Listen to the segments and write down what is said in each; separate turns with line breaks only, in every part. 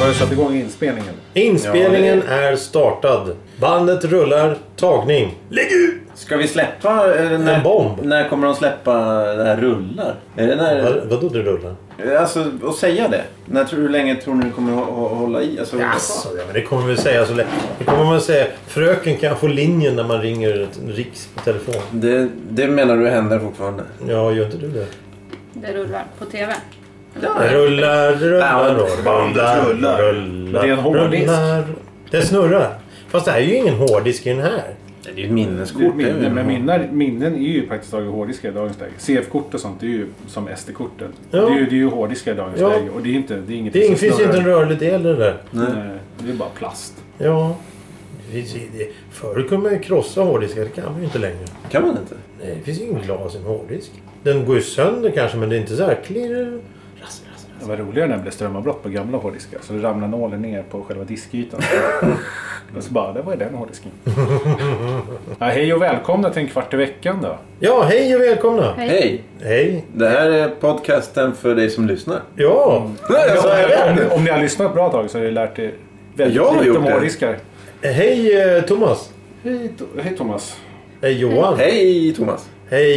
Har du satt igång inspelningen?
Inspelningen är startad. Bandet rullar. Tagning. Lägg ut!
Ska vi släppa... eh, När,
En bomb.
När kommer de släppa det här rullar? Är det
Vad,
när...
vadå det rullar?
Alltså, att säga det. När tror, hur länge tror ni det kommer att hå- hålla i? Alltså,
Jaså, ja, men det kommer vi säga så lätt. Det kommer man säga. Fröken kan få linjen när man ringer ett Riks på telefon.
det, det menar du händer fortfarande?
Ja, gör inte du det?
Det rullar på TV.
Ja.
Rullar, rullar,
Ja,
rullar,
rullar.
rullar.
Det är en hårddisk.
rullar. Det snurrar. Fast det här är ju ingen hårddisk i den här.
Det är ju ett minneskort.
Det är
det är ju-
Minnen, men minnar, minnen är ju praktiskt taget hårddiskar i dagens läge. CF-kort och sånt är ju som SD-korten.
Ja.
Det, är ju, det är ju hårddiskar i dagens
Ja.
läge. Och det är inte... Det är inget
Det är- finns ju inte en rörlig del i det där.
Nej, Det är bara plast.
Ja. Det finns ju- det- Förr kunde man ju krossa hårddiskar. Det kan man ju inte längre.
Kan man inte?
Nej, det finns ju ingen glas i en hårddisk. Den går ju sönder kanske, men det är inte så här klirr. Rass, rass, rass.
Det var roligare när det blev strömavbrott på gamla hårddiskar. Så det ramlade nålen ner på själva diskytan. och så bara, där var ju den hårddisken. ja, hej och välkomna till en kvart i veckan då.
Ja, hej och välkomna!
Hej.
Hej!
Hej!
Det här är podcasten för dig som lyssnar.
Ja!
Nej, jag sa
Om,
det!
om ni har lyssnat ett bra tag så har ni lärt er väldigt
Jag har
lite
gjort
om
det.
hårddiskar.
Hej eh, Thomas!
Hej, To- hej Thomas.
Hej Johan! Hej,
Hej Thomas!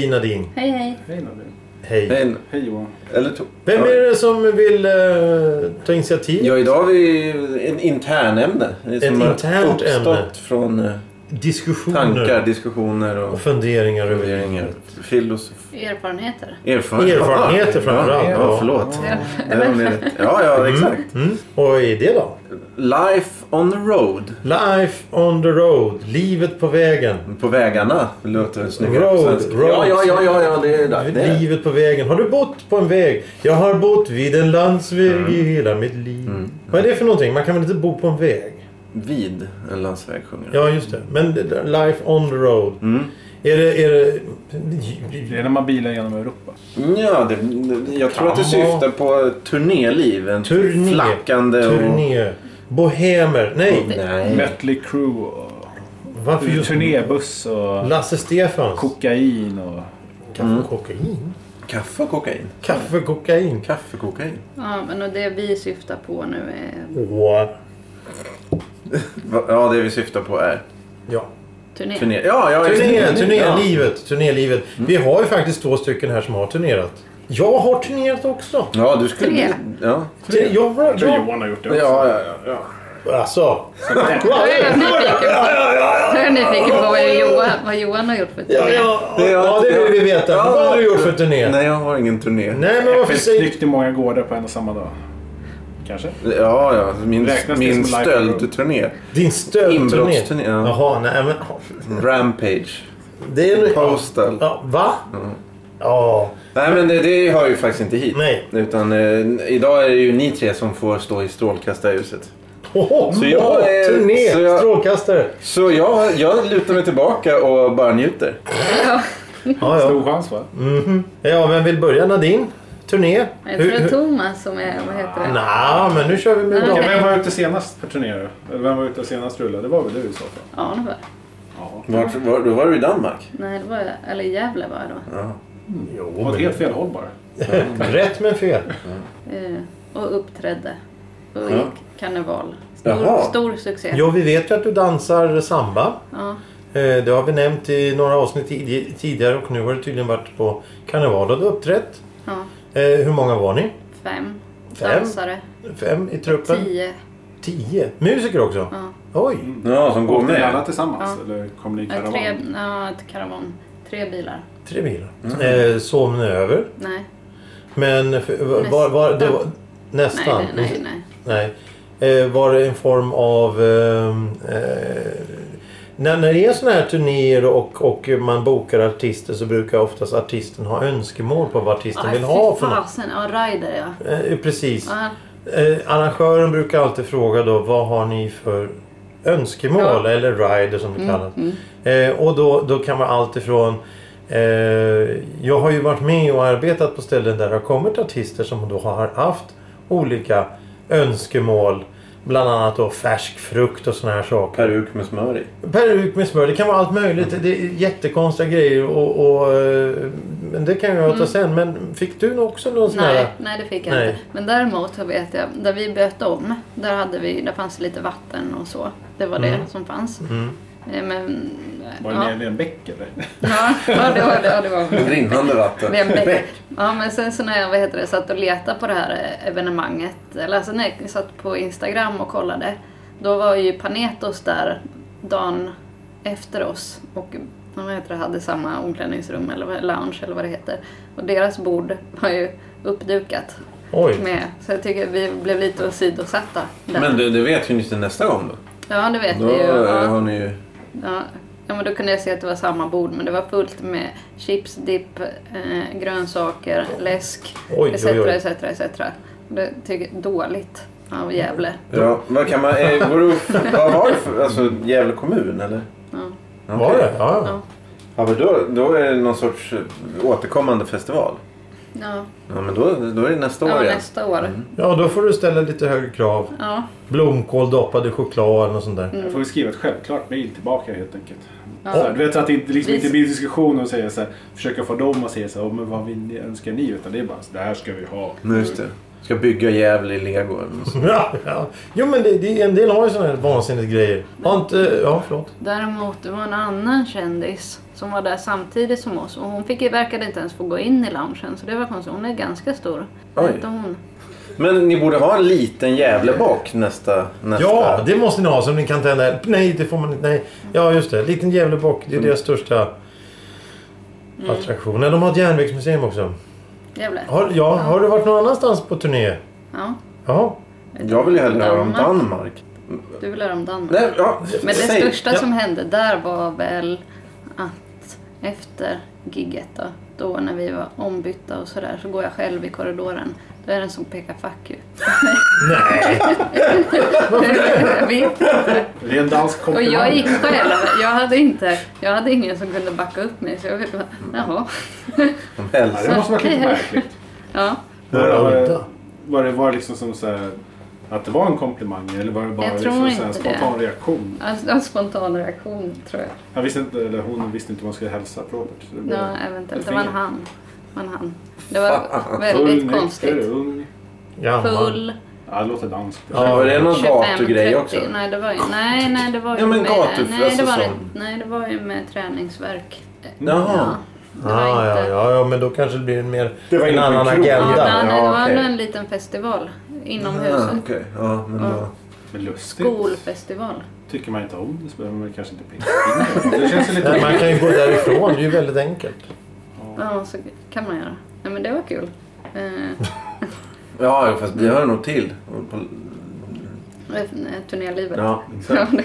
Nadine!
Hej hej.
Hej Nadine.
Hej!
Hej,
Hej Johan.
eller to-
Vem
Ja.
är det som vill eh, ta initiativ?
Ja, idag har vi en internämne. Ett
internt ämne.
från eh,
Diskussioner
tankar, diskussioner och
och funderingar över
funderingar. Filosof...
Erfarenheter.
Erfarenhet.
Erfarenheter framför allt.
Ja, ja, förlåt.
Ja.
Det var mer rätt. Ja, ja, exakt.
Mm. Och vad är det då?
Life on the road.
Life on the road. Livet på vägen.
På vägarna låter det snyggare
Road,
på svenska.
road.
Ja, ja, ja, ja, ja, det är det. det. är-
Livet på vägen. Har du bott på en väg? Jag har bott vid en landsväg
Mm.
i hela mitt liv. Vad är det för någonting? Man kan väl inte bo på en väg?
Vid en landsväg sjunger Mm. jag.
Ja, just det. Men det där, life on the road. Är det... Är det...
Det är när man bilar genom Europa.
Ja, det, det, jag tror att det
Kan vara-
syftar på turnéliv. En
Turné.
Flackande och... Mm.
Turné. Bohemer. Nej.
Nej.
Mötley Crüe och
Varför just...
turnébuss och
Lasse Stefans.
kokain och...
Kaffe och kokain.
Kaffe och kokain.
Kaffe och kokain.
Kaffe och kokain.
Ja, men och det vi syftar på nu är
Åh.
Va- Ja, det vi syftar på är
Ja.
turné.
turné. Ja, ja, just det.
Turné,
Ja.
turnélivet. Turnélivet. Vi har ju faktiskt två stycken här som har turnerat. Jag har turnerat också.
Ja, du skulle...
Turné.
Ja.
Jag, jag,
Jag tror
jag,
Johan har gjort det
Ja,
också.
ja, ja, ja.
alltså.
Då är jag nyfiken på, då är jag nyfiken på vad, Johan, vad Johan har gjort för turné.
Ja, ja, ja, det vill vi veta.
Ja.
Vad har du gjort för turné? Nej,
Nej, jag har ingen turné.
men varför säger
Flykt i många gårdar på en och samma dag. Kanske?
Ja, ja. Min,
Räknas det som
min
live
stöldturné.
Din stöldturné?
Inbrottsturné, ja.
Jaha, nej men...
Rampage.
Det är en...
Postal.
Ja, va?
Mm.
Ja.
Nej, men det, det hör ju faktiskt inte hit.
Nej.
Utan eh, idag är det ju ni tre som får stå i strålkastarljuset.
Oho,
Så jag
oho,
är-
turné,
så jag-
strålkastare.
Så jag, jag lutar mig tillbaka och bara njuter.
Ja, ja.
Stor chans va?
Mhm. ja, vem vill börja? Nadine? Turné?
Jag tror det är Thomas som är, vad heter det?
Nej, men nu kör vi med
Nej.
dem.
Ja, vem var ute senast på turné då? Eller vem var ute senast rulla? Det var väl du i så fall?
Ja, det var
Ja.
Vart, var, då var du i Danmark.
Nej, det var jag. Eller Gävle var jag då.
Jo,
Åt
men...
helt fel håll bara.
Rätt men fel.
Eh, Och uppträdde. Och
Ja.
gick karneval.
Jaha.
Stor, stor succé.
Jo, vi vet ju att du dansar samba.
Ja.
Eh, Det har vi nämnt i några avsnitt tid- tidigare och nu har du tydligen varit på karneval och du har uppträtt.
ja.
Eh, Hur många var ni?
Fem.
Fem?
Dansare.
Fem i truppen?
Tio.
Tio. Musiker också?
Ja.
Oj!
Ja, som går
Åkte ni alla
med.
tillsammans?
Ja.
Eller kom ni i
Nej, Tre,
karavan?
ja, ett karavan. Tre bilar.
Tre bilar. Eh, sov ni över?
Nej.
Men f- var, var, var, det var, nästan?
Nej, nej, nej.
nej. Eh, var det en form av... ehm, Eh, när, när det är såna här turnéer och, och man bokar artister så brukar oftast artisten ha önskemål på vad artisten
Ja,
vill ha för något.
fasen. Ja, Ryder ja.
Eh, precis.
ja.
Eh, arrangören brukar alltid fråga då vad har ni för önskemål
Ja. Mm.
eller rider som det Mm. kallas. Eh, och då, då kan man alltifrån eh, Jag har ju varit med och arbetat på ställen där det har kommit artister som då har haft olika önskemål. Bland annat då färsk frukt och såna här saker.
Peruk med smör i.
Peruk med smör, det kan vara allt möjligt. Det är jättekonstiga grejer och, och eh, men det kan jag ta sen. Men fick du också någon sån
Mm. Nej,
här...
nej, det fick jag
Nej.
inte. Men däremot så vet jag, där vi böt om, där, hade vi, där fanns det lite vatten och så. Det var det som fanns.
Mm.
Eh, Men,
Var det
ja.
nere vid en bäck eller?
Ja, ja, det var det. Ja, det var.
Rinnande vatten.
Vid en bäck. Ja, men sen så när jag vad heter det, satt och letade på det här evenemanget, eller alltså när jag satt på Instagram och kollade, då var ju Panetos där dagen efter oss och de heter, det, hade samma omklädningsrum eller vad- lounge eller vad det heter. Och deras bord var ju uppdukat
Oj.
med. Så jag tycker vi blev lite åsidosatta. Där.
Men du, det vet ju ni till nästa gång då.
ja, det vet
Då
vi ju.
eh,
Ja.
har ni ju...
Ja. ja, men då kunde jag se att det var samma bord, men det var fullt med chips, dipp, eh, grönsaker, läsk,
Oj,
etc.
oj, oj.
etc, etc. Det tycker jag är dåligt av Gävle.
Ja, vad kan man... Eh, går du, vad var det för... Alltså Gävle kommun eller?
Ja.
Okej.
Var det? Ja.
Ja.
Ja, men då, då är det någon sorts eh, återkommande festival.
Ja,
Ja, men då, då är det Mm. nästa
ja
år igen.
nästa år.
ja, då får du ställa lite högre krav.
Ja,
Blomkål doppad i choklad eller något sånt där.
Jag får vi skriva ett självklart mejl tillbaka helt enkelt.
Ja.
Så här, du vet så att det inte, liksom,
Vi-
inte blir diskussion och säga så här, försöka få dem att säga så här, "Åh, men vad vill ni, önskar ni? Utan det är bara så, det här ska vi ha.
Nu, just det. Ska bygga Gävle i lego. eller något sånt.
Ja, ja. Jo, men det, det, en del har ju såna här vansinniga grejer. Har inte... Ja, förlåt.
däremot det var en annan kändis som var där samtidigt som oss och hon fick, verkade inte ens få gå in i loungen så det var konstigt. Hon är ganska stor.
Oj.
Inte hon.
Men ni borde ha en liten Gävlebock nästa... nästa.
Ja, det måste ni ha som ni kan tända. Nej, det får man inte. Nej. Ja, just det. Liten Gävlebock. Det är deras största
Mm.
attraktion. Nej, de har ett järnvägsmuseum också.
Gävle.
Har, ja, har du varit någon annanstans på turné?
Ja.
Jaha.
Jag vill ju hellre höra om
Danmark.
Danmark.
Du vill höra om Danmark?
Nej, ja,
Men det
säg.
största
Ja.
som hände där var väl att efter gigget då, då när vi var ombytta och sådär, så går jag själv i korridoren. Då är det en som pekar 'fuck you'. Nej! Visst.
Det är en dansk
och
komplimang.
jag gick själv. Jag hade, inte, jag hade ingen som kunde backa upp mig, så jag fick bara, jaha.
Som
Ja,
helst.
det måste varit lite märkligt.
Ja.
Var det, var det,
Udda.
var det, var det liksom som så här, att det var en komplimang eller var det bara
Jag
liksom
tror
så här,
inte det.
spontan reaktion?
Alltså, en spontan reaktion tror jag.
Han visste inte, eller hon visste inte hur man skulle hälsa på Robert. så det blev-
Ja, eventuellt. Det var
Fingret.
en han. Det var en han. Det var väldigt
nykter,
konstigt.
ung.
Gammal.
Full.
Ja, det låter danskt.
Ja, var det någon
25,
gatugrej
30.
också?
Nej, det var ju, nej, nej, det var ju
Ja, men
med,
gatu-
nej,
alltså
det var,
sån.
nej, det var ju med träningsverk.
Jaha.
det var
Ah, ja,
inte-
ja, ja, men då kanske det blir en mer...
Det var
en
inte
annan
en krog.
Ja,
agenda.
men det
Ja,
var
okej.
nog en liten festival inomhus.
Ah, okej. Ja, men
Ja.
då.
Men lustigt.
Skolfestival.
Tycker man inte om det så behöver man kanske inte peka in det. Det känns ju
Nej,
lite...
man kan ju gå därifrån. Det är ju väldigt enkelt.
Ja, så kan man göra. Nej, men det var kul. Eh,
Ja, fast vi hör nog till.
eh, turnélivet.
Ja, mm.
Ja,
exakt.
det,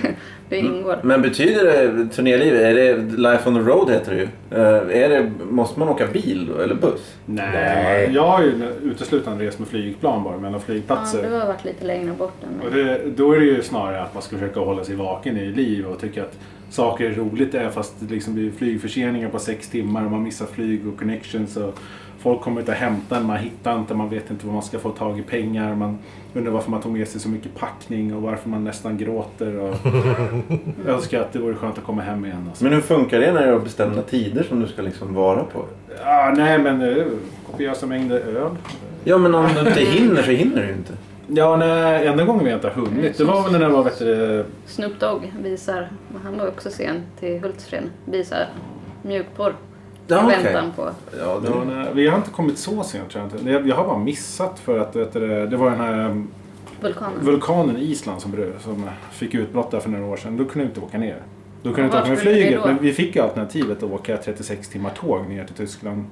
det
Mm.
ingår.
Men betyder det turnéliv? Är det Life on the Road heter det ju. Eh, Är det, måste man åka bil då, eller buss?
Nej. Jag har ju uteslutande rest med flygplan bara mellan
Ja,
flygplatser.
du har varit lite längre bort än
Och
mig.
det, då är det ju snarare att man ska försöka hålla sig vaken i liv och tycka att saker är roligt även fast det liksom blir flygförseningar på sex timmar och man missar flyg och connections. Och folk kommer inte att hämta en, man hittar inte, man vet inte var man ska få tag i pengar. Man undrar varför man tog med sig så mycket packning och varför man nästan gråter. Och jag önskar att det vore skönt att komma hem igen. Alltså.
Men hur funkar det när du har bestämda tider som du ska liksom vara på?
Ah, nej men eh, kopiösa mängder öl.
Ja, men om du inte hinner så hinner du ju inte.
Ja, nej, enda gången vi inte har hunnit. Det var väl när det var vet du,
Snoop Dogg visar, han var också sen till Hultsfred, visar mjukporr.
Ja,
I
okej.
väntan på
Ja,
Ja,
det...
nej, vi har inte kommit så sent tror jag inte. Jag- Jag har bara missat för att vet du, det- det var den här um,
vulkanen.
vulkanen i Island som, brö- som fick utbrott där för några år sedan. Då kunde vi inte åka ner. Då kunde vi inte
Vart
åka med
skulle vi
flyget
då?
men vi fick ju alternativet att åka 36 timmar tåg ner till Tyskland.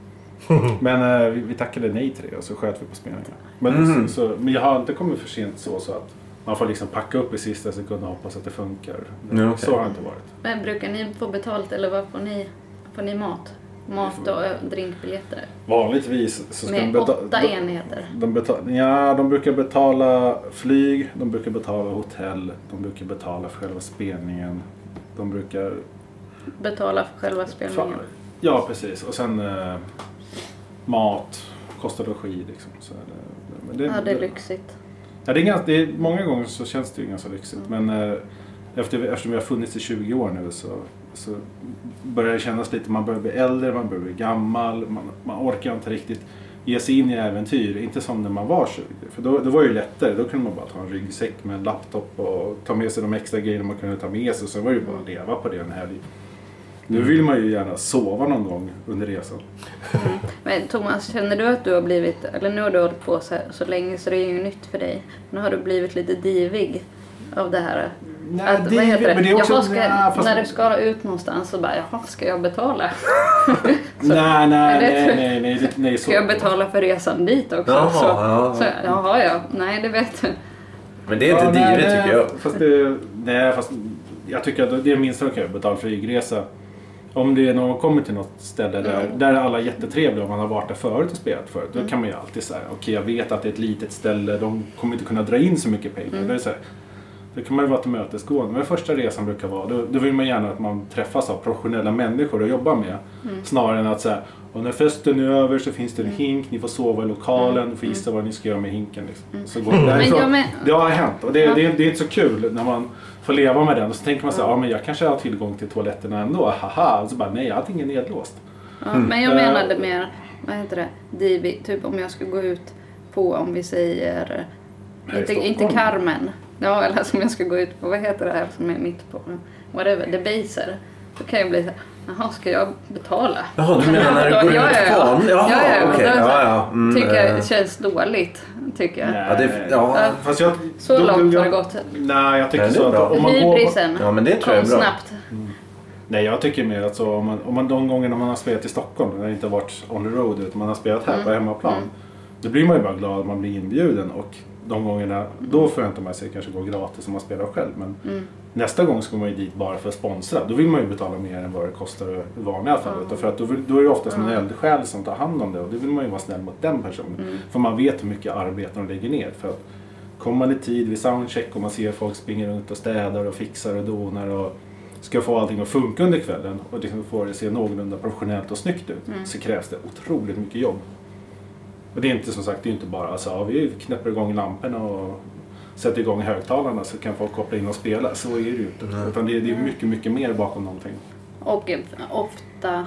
men eh, vi, vi tackade nej till det och så sköt vi på spelningarna. Men,
Mhm.
Mm.
så, så, men jag har inte kommit för sent så, så att man får liksom packa upp i sista sekunden och hoppas att det funkar.
Ja, okej.
Så har det inte varit.
Men brukar ni få betalt eller vad får ni? Får ni mat? Mat och ö- drinkbiljetter?
Vanligtvis Mm. så ska
Med
man beta-
åtta
då-
enheter.
De, betal- ja, de brukar betala flyg, de brukar betala hotell, de brukar betala för själva spelningen. De brukar...
Betala för själva spelningen.
Ja, precis. Och sen eh, mat, kost och logi. Liksom. Så, eh, men det,
Ja, det är lyxigt.
Ja, det är ganska, det är, många gånger så känns det ju ganska lyxigt. Men eh, efter, eftersom vi har funnits i 20 år nu så så börjar det kännas lite, man börjar bli äldre, man börjar bli gammal, man, man orkar inte riktigt ge sig in i äventyr. Inte som när man var 20, för då, då var det ju lättare. Då kunde man bara ta en ryggsäck med en laptop och ta med sig de extra grejerna man kunde ta med sig. Sen var det ju bara att leva på det en helg. Nu vill man ju gärna sova någon gång under resan.
Men Thomas, känner du att du har blivit, eller nu har du hållit på så, så länge så det är ju inget nytt för dig. Nu har du blivit lite divig av det här.
Nej,
att,
divig,
vad heter det?
men det är också-
Jaha, ska,
nej, fast-
När du ska ut någonstans så bara, jaha, ska jag betala?
nej, nej,
det
nej,
tror-
nej, nej, det- nej, så.
Ska jag betala för resan dit också?
Jaha,
så,
ja.
Så, jaha, ja. Nej, det vet du.
Men det är inte
nej,
divigt
nej,
tycker jag.
Fast det, nej, fast jag tycker att det är minsta okej, betala flygresa. Om det är någon kommer till något ställe där, där är alla jättetrevliga om man har varit där förut och spelat förut. Då kan man ju alltid säga, okej jag vet att det är ett litet ställe, de kommer inte kunna dra in så mycket pengar. Då, är det så här, då kan man ju vara tillmötesgående. Men första resan brukar vara, då, då vill man gärna att man träffas av professionella människor att jobba med.
Mm.
Snarare än att säga, och när festen är över så finns det en hink, ni får sova i lokalen, ni får gissa vad ni ska göra med hinken. Liksom. Så går det därifrån.
jag Mm. men-
Det har hänt och det,
Ja.
det, det är inte så kul när man får leva med den. Och så tänker man så här, ja men jag kanske har tillgång till toaletterna ändå, haha. Och så bara, nej allting är nedlåst.
Ja, Men jag
Eh,
menade mer, vad heter det, divig, typ om jag skulle gå ut på, om vi säger,
Här i
inte,
Stockholm.
inte Carmen. Ja, eller som jag ska gå ut på, vad heter det här som är mitt på, whatever, Debaser. Då kan jag bli såhär, jaha, ska jag betala?
Jaha, du menar när
Då-
du går
ja,
ut
ja, ja.
fan?
Ja, ja,
Jaha,
ja.
okej.
Då är det
Ja,
så här,
ja. Mm,
tycker
eh,
jag känns dåligt, tycker jag.
Ja, det, ja.
Ja.
Fast jag,
Så långt har det gått.
Nej, jag tycker
Nej, det är
så
bra.
att om man går på,
Hybrisen
ja, men det tror
kom
jag är bra.
snabbt.
Nej, jag tycker mer att så, om, man, om man de gångerna man har spelat i Stockholm, när det inte har varit on the road, utan man har spelat här på hemmaplan. Då blir man ju bara glad att man blir inbjuden och de gångerna, då förväntar man sig kanske gå gratis om man spelar själv. Men nästa gång ska man ju dit bara för att sponsra. Då vill man ju betala mer än vad det kostar i vanliga fallet. Och För att då, vill- då är det oftast en eldsjäl som tar hand om det och då vill man ju vara snäll mot den personen. För man vet hur mycket arbete de lägger ner. För att kommer man i tid vid soundcheck och man ser folk springa runt och städar och fixar och donar och ska få allting att funka under kvällen och liksom få det att se någorlunda professionellt och snyggt ut
Mm.
så krävs det otroligt mycket jobb. Och det är inte som sagt, det är inte bara alltså, ja, vi knäpper igång lamporna och sätter igång högtalarna så kan folk koppla in och spela. Så är det ju inte. Utan det, är- det är mycket, mycket mer bakom någonting.
Och eh, ofta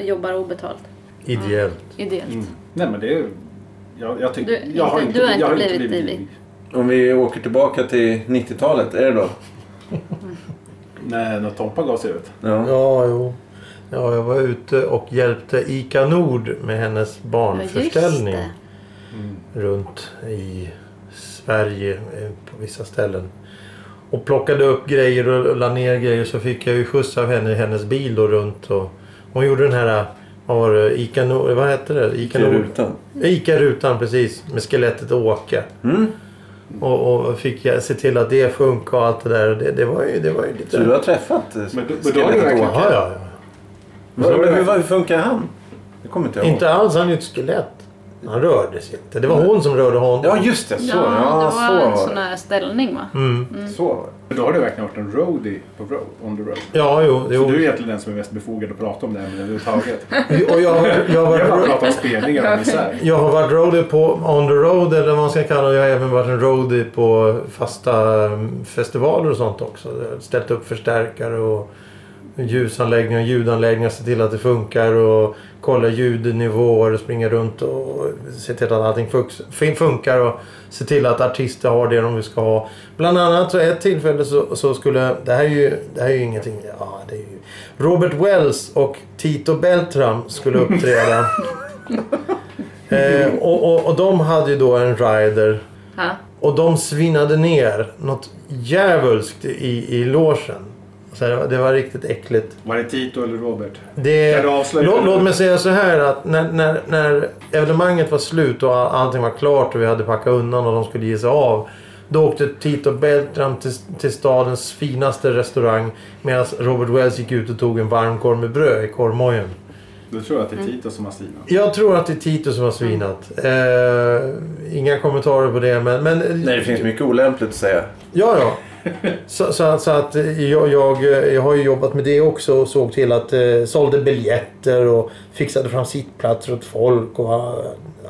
jobbar obetalt,
Ideellt.
ideellt.
Mm.
Mm.
Nej men det är... Jag, jag, tyck,
Du-
jag har
inte-
inte,
du har inte
jag har
blivit divig.
Om vi åker tillbaka till 90-talet, är det då?
Nej, när Tompa gav sig ut.
Ja.
Ja, jo. Ja, jag var ute och hjälpte Ica Nord med hennes
Ja, just
barnförställning
det.
runt i Sverige eh, på vissa ställen. Och plockade upp grejer och la ner grejer så fick jag ju skjuts av henne i hennes bil då runt. Och hon gjorde den här, vad var det, Ica Nord, vad hette det? Ica
Till
Nord.
rutan.
Ica-rutan precis, med skelettet Åke.
Mm.
Och, och fick jag se till att det funkar och allt det där. Och Det, det, var, ju, det var ju lite...
Så du har träffat eh,
Men då- men då är det
skelettet
verkligen-
Åke?
ja, ja, ja.
Vad- men Hur, hur funkar han? Det kommer inte jag ihåg.
Inte alls, han är ju ett skelett. Han rörde sig inte. Det var hon som rörde honom.
Ja, just det. Så,
Ja,
ja,
det
så
var en
var
sån
det.
här ställning va?
Mm.
Så var det.
För då har du verkligen varit en roadie på road, on the road.
Ja, jo.
Så
jo.
du är egentligen den som är mest befogad att prata om det här ämnet överhuvudtaget.
Och jag, jag,
Jag har
var,
bara pratat om spelningar och misär.
jag har varit roadie på on the road eller vad man ska kalla det. Jag har även varit en roadie på fasta mm, festivaler och sånt också. Jag har Ställt upp förstärkare och ljusanläggningar och ljudanläggningar. Se till att det funkar och kolla ljudnivåer och springa runt och se till att allting fux- fin- funkar och se till att artister har det de ska ha. Bland annat så ett tillfälle så, så skulle, det här är ju, det här är ju ingenting, ja, det är ju, Robert Wells och Tito Beltram skulle uppträda. eh, och, och, och de hade ju då en rider
Ja.
och de svinnade ner något djävulskt i, i logen. Så det, var, det var riktigt äckligt.
Var det Tito eller Robert?
Det,
Kan du avslöja?
låt, låt mig säga så här att när, när, när evenemanget var slut och all- allting var klart och vi hade packat undan och de skulle ge sig av. Då åkte Tito Beltram till, till stadens finaste restaurang medan Robert Wells gick ut och tog en varm korv med bröd i korvmojen.
Då tror jag att det är Tito som har stinat.
Jag tror att det är Tito som har svinat. Eh, inga kommentarer på det men... men
Nej, det finns mycket olämpligt att säga.
Ja, ja. Så, så, att- så att eh, jag, jag, eh, jag har ju jobbat med det också och såg till att eh, sålde biljetter och fixade fram sittplatser åt folk och eh,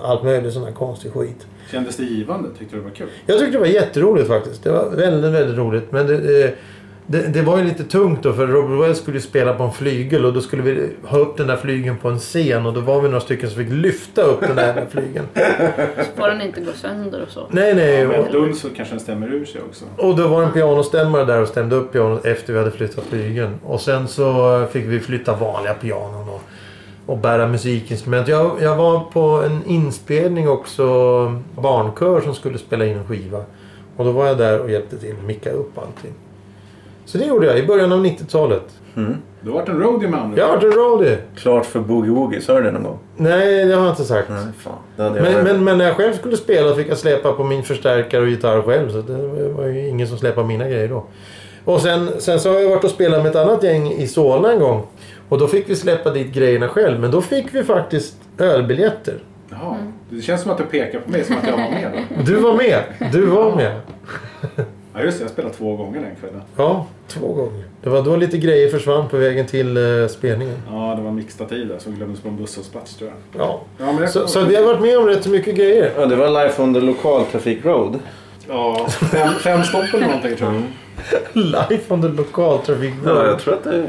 allt möjligt sån här konstig skit.
Kändes det givande? Tyckte du det var kul?
Jag tyckte det var jätteroligt faktiskt. Det var väldigt, väldigt roligt. Men det, eh, det, det var ju lite tungt då för Robert Wells skulle ju spela på en flygel och då skulle vi ha upp den där flygeln på en scen och då var vi några stycken som fick lyfta upp den där jävla flygeln.
Så får den inte gå sönder och så.
Nej, nej.
Ja, med
Och,
ett duns så kanske den stämmer ur sig också.
och då var det en pianostämmare där och stämde upp pianot efter vi hade flyttat flygeln. Och sen så fick vi flytta vanliga pianon och, och bära musikinstrument. Jag, jag var på en inspelning också, barnkör som skulle spela in en skiva. Och då var jag där och hjälpte till att micka upp allting. Så det gjorde jag i början av 90-talet.
Du har varit en roadie med andra
Jag har varit en roadie.
Klart för boogie-woogie, sa du det någon gång?
Nej, det har jag inte sagt.
Nej, fan. Det hade jag
Men,
varit-
men, men när jag själv skulle spela fick jag släpa på min förstärkare och gitarr själv. Så det var ju ingen som släpade mina grejer då. Och sen, sen så har jag varit och spelat med ett annat gäng i Solna en gång. Och då fick vi släppa dit grejerna själv. Men då fick vi faktiskt ölbiljetter.
Jaha. Det känns som att du pekar på mig som att jag var med då.
Du var med. Du var med.
Ja just det, jag spelade två gånger den kvällen.
Ja, två gånger. Det var då lite grejer försvann på vägen till eh, spelningen.
Ja, det var mixta tider som glömdes på en busshållplats tror jag.
Ja.
Ja, men jag
Så, så vi har varit med om rätt så mycket grejer.
Ja, det var Life on the Lokaltrafik Road.
Ja, fem, fem stopp eller någonting tror jag.
Life on the lokaltrafik.
Ja, jag tror att det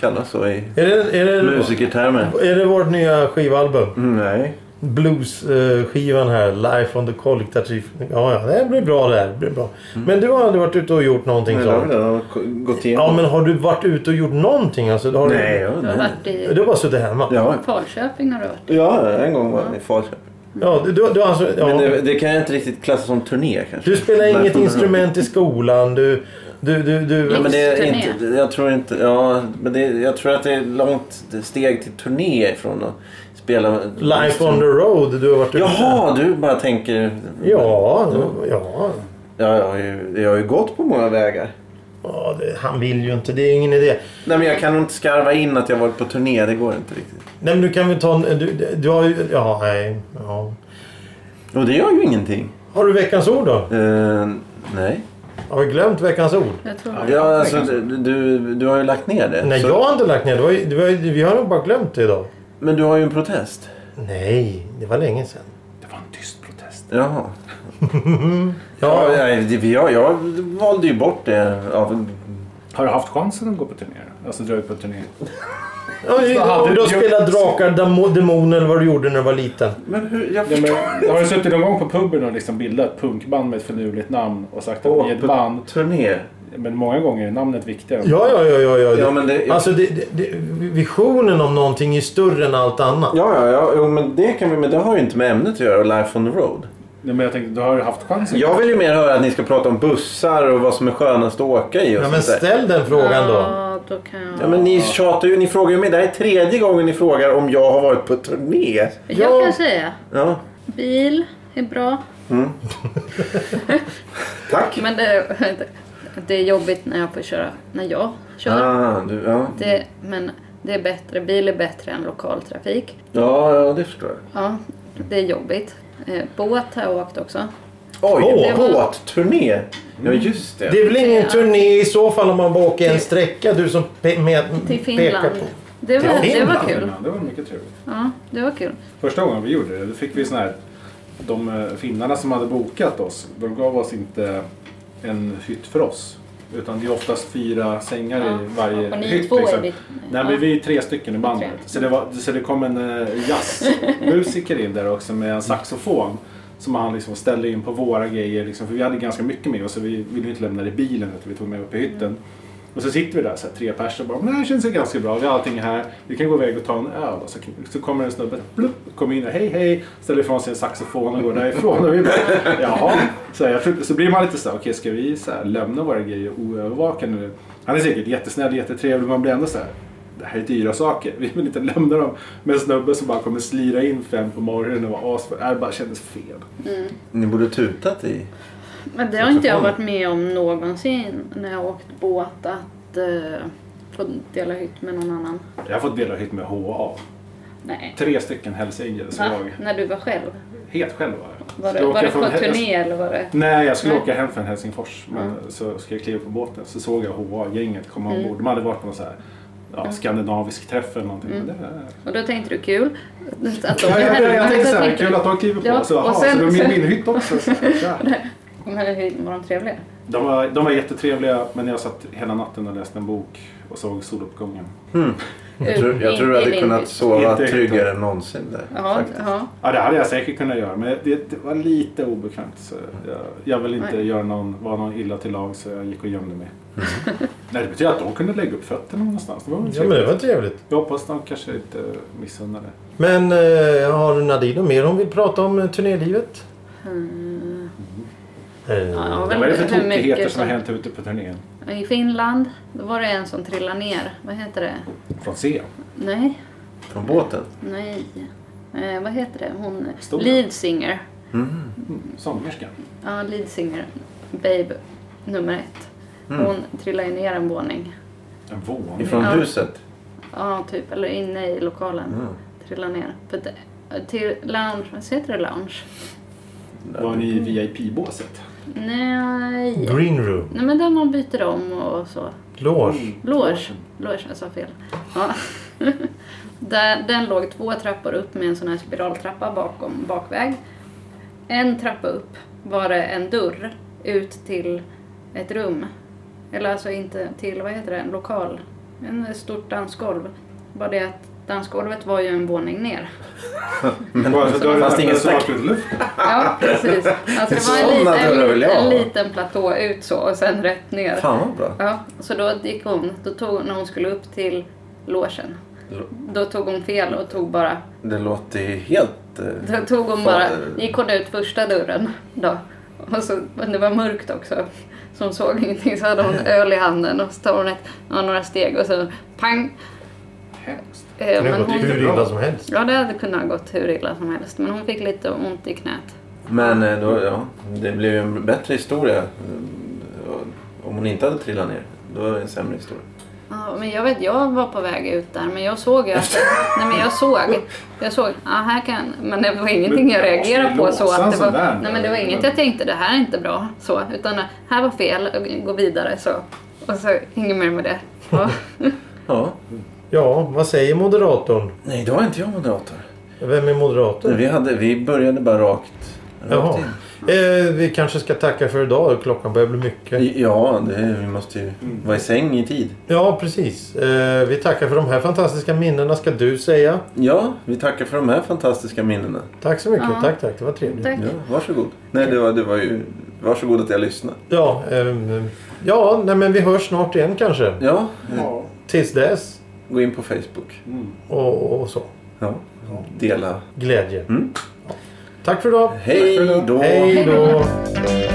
kallas så i
Är det, är det,
musikertermer.
är det vårt nya skivalbum?
Mm, Nej.
bluesskivan här, Life on the Colic Tattoo. Ja, ja, det blir bra det här. Det blir bra. Men du har aldrig varit ute och gjort någonting
Mm. Nej, det har vi
sånt?
redan k- gått
Ja,
igenom.
men har du varit ute och gjort någonting? Alltså, har
Nej, ja,
Du har
nej.
varit
Du,
i
du har bara suttit hemma?
Ja,
Falköping har du varit.
ja, en gång var jag i Falköping.
Ja, du, du, du, alltså, ja.
Men det, det kan jag inte riktigt klassa som turné kanske.
du spelar
Life
inget
on the-
instrument i skolan? Du, du, du, du,
Ja, men det är
Turné.
inte, jag tror inte, ja, men det, jag tror att det är långt steg till turné ifrån att spela...
Life on the road, du har varit ute?
Jaha, du bara tänker...
Ja, ja.
Ja, jag har ju, jag har ju gått på många vägar.
ja det, han vill ju inte, det är ingen idé.
Nej, men jag kan nog inte skarva in att jag varit på turné. Det går inte riktigt.
Nej, men du kan väl ta en... Du, du har ju... Ja, nej. Ja.
Och det gör ju ingenting.
Har du veckans ord då?
Eh, nej.
Har vi glömt veckans ord?
Jag tror
Ja,
det.
Ja, alltså, du, du, du har ju lagt ner det.
Nej,
så-
jag har inte lagt ner det. Var, ju- det var, ju- vi har nog bara glömt det idag.
Men du har ju en protest.
Nej, det var länge sedan.
Det var en tyst protest.
Jaha. Ja,
Ja, ja.
nej, det- jag, jag valde ju bort det av...
Har du haft chansen att gå på turné? Alltså dra ut på turné?
ja,
hade
hade du
du-
spelat drakar, damo- demoner eller vad du gjorde när du var liten.
Men hur...
Ja,
Jag förstår...
men, har du suttit någon gång på puben och liksom bildat ett punkband med ett förnuligt namn och sagt att ni är ett band?
turné.
Men många gånger är namnet viktigare.
Ja, ja, ja. ja, ja.
Ja, men det-
Alltså, det, det, det, visionen om någonting är större än allt annat.
Ja, ja, ja. Jo, men det kan vi... Men det har ju inte med ämnet att göra. Life on the road.
Nej, men jag tänkte, du har ju haft chansen.
Jag vill ju mer höra att ni ska prata om bussar och vad som är skönast att åka i och
Ja, men
sånt där.
ställ den frågan då.
Ja, då kan jag...
Ja, men ni tjatar ju. Ni frågar ju mig. Det här är tredje gången ni frågar om jag har varit på turné.
Jag kan säga.
Ja.
Bil är bra.
Tack.
Men det, det är jobbigt när jag får köra. När jag kör.
Ah, du, ja.
Det, men det är bättre. Bil är bättre än lokaltrafik.
Ja, ja, det förstår jag.
Ja, det är jobbigt. Eh, Båt har jag åkt också.
Oj,
Åh.
båtturné! Ja, just
Det
det.
är väl ingen turné i så fall om man bara åker en sträcka du som pe- med,
Till
pekar
Finland.
på.
Det var,
Till
det var
Ja,
kul.
men Det var mycket trevligt.
Ja, det var kul.
Första gången vi gjorde det, då fick vi sån här... De eh, finnarna som hade bokat oss, de gav oss inte en hytt för oss. Utan det är oftast fyra sängar
Ja.
i varje
Ja, och ni
hytt.
två är
liksom.
ditt-
Nej, men vi är tre stycken i bandet.
Tre.
Så, det var, så det kom en eh, jazzmusiker in där också med en saxofon. Som han liksom ställde in på våra grejer. Liksom, för vi hade ganska mycket med oss så vi ville ju inte lämna det i bilen utan vi tog med upp i hytten.
Mm.
Och så sitter vi där så här, tre pers och bara, men det här känns ju ganska bra, vi har allting här, vi kan gå iväg och ta en öl. Och så, så kommer en snubbe, blupp, kommer in och hej hej, ställer ifrån sig en saxofon och går därifrån. Och vi bara, jaha. Så, här, jag, tror- så blir man lite så här, okej ska vi så här, lämna våra grejer oövervakade nu? Han är säkert jättesnäll, jättetrevlig, men man blir ändå så här, det här är dyra saker, vi vill inte lämna dem med en snubbe som bara kommer slira in fem på morgonen och vara asfull. Nej, Det bara kändes fel.
Ni borde tutat i.
Men det har inte jag varit med om någonsin när jag har åkt båt att eh, få dela hytt med någon annan.
Jag har fått dela hytt med HA.
Nej.
Tre stycken Hells Angels och
Va?
jag,
När du var själv?
helt själv var jag.
Var
Skulle
du, var
åka
du
från
på
Hel- jag-
turné eller var det?
Nej, jag skulle
Nej.
åka hem från Helsingfors. Men så ska jag kliva på båten så såg jag HA-gänget komma
Mm.
ombord. De hade varit på någon så här, ja, skandinavisk träff eller någonting.
Mm.
Men det,
Och då tänkte du kul? Att de
ja,
är
jag,
hemma.
jag, jag tänkte
Så
så här,
tänkte
kul
du,
att de kliver på.
Ja,
så,
och
aha,
sen-
så de är
sen-
min hytt också. Så här, så här.
Men hur var de trevliga?
De var, de var jättetrevliga men jag satt hela natten och läste en bok och såg soluppgången.
Jag tror, jag tror
In-
du
in
hade
i
kunnat
Lindby.
sova
Inte
tryggare än någonsin där.
Ja,
faktiskt.
ja.
Ja, det hade jag säkert kunnat göra men det, det var lite obekvämt. Så jag, jag vill inte
Nej.
göra någon, vara någon illa till lag så jag gick och gömde mig. Nej, det betyder att de kunde lägga upp fötterna någonstans. Det var väl
Ja, men det
trevligt.
var trevligt.
Jag hoppas de kanske inte missunnar det.
Men eh, har Nadine något mer hon vill prata om eh, turnélivet?
Mm.
Eh,
Ja, det var väl
Vad är det för
hur mycket
tokigheter som har
som-
hänt ute på turnén?
I Finland, då var det en som trillade ner. Vad heter det?
Från C?
Nej,
Från båten.
nej. Eh, vad heter det? Hon...
Stora.
Lead singer.
Sångerskan?
Ja, lead singer. Babe nummer ett.
Mm.
Hon trillade ju ner en våning.
En våning?
Ifrån
Ja.
huset.
Ja, typ. Eller inne i lokalen.
Mm.
Trillade ner. För det- Till lounge... Vad heter det? Lounge?
Var ni i VIP-båset?
Nej.
Green room.
Nej, men där man byter om och så.
Mm.
Loge.
Loge. Loge, jag sa fel. Ja. Där, den låg två trappor upp med en sån här spiraltrappa bakom, bakväg. En trappa upp var det en dörr ut till ett rum. Eller alltså inte till, vad heter det, en lokal. En stort dansgolv. Bara det att dansgolvet var ju en våning ner.
Men alltså,
det fanns ingen stack.
stack ut luften.
Ja, precis. Alltså det var en
Sådana dörrar vill
liten,
jag ha.
en liten platå ut så och sen rätt ner.
Fan vad bra.
Ja, så då gick hon, då tog, när hon skulle upp till logen, då tog hon fel och tog bara,
Det låter ju helt... eh,
då tog
Fan.
hon bara, gick hon ut första dörren då. Och så, men det var mörkt också, så hon såg ingenting. Så hade hon öl i handen och så tar hon ett, ja, några steg och så pang.
Hemskt.
Eh,
Det har
Men
gått hur
hon,
illa som helst.
ja, det hade kunnat gått hur illa som helst, men hon fick lite ont i knät.
Men eh, då, ja, det blev ju en bättre historia. Mm, Om hon inte hade trillat ner. Då var det en sämre historia.
Ja, men jag vet, jag var på väg ut där, men jag såg ju att... nej, men jag såg. Jag såg, ja, här kan... Men det var ingenting jag
Men
reagerade på
måste vi
så att det
låsa en
var...
sån där?
Nej, men det var inget jag tänkte, det här är inte bra. Så, utan här var fel, gå vidare så. Och så inget mer med det. Ja.
Ja.
Ja, vad säger moderatorn?
Nej, då var inte jag moderator.
Vem är moderator?
Nej, Vi, hade, vi började bara rakt, rakt
Jaha.
in.
Eh, vi kanske ska tacka för idag. Klockan börjar bli
Mm.
mycket.
Ja, det, vi måste ju vara i säng i tid.
Ja, precis. Eh, vi tackar för de här fantastiska minnena ska du säga.
Ja, vi tackar för de här fantastiska minnena.
Tack så mycket.
Ja.
Tack, tack. Det var trevligt.
Tack.
Ja, varsågod. Nej, det var, det var ju... Varsågod att jag lyssnade.
Ja, ehm, ja nej, men vi hörs snart igen kanske.
Ja,
Ja.
Tills dess
gå in på Facebook.
Mm.
och, och så.
Ja, dela.
Glädje.
Mm.
Tack för idag.
Hej då!
Hej då.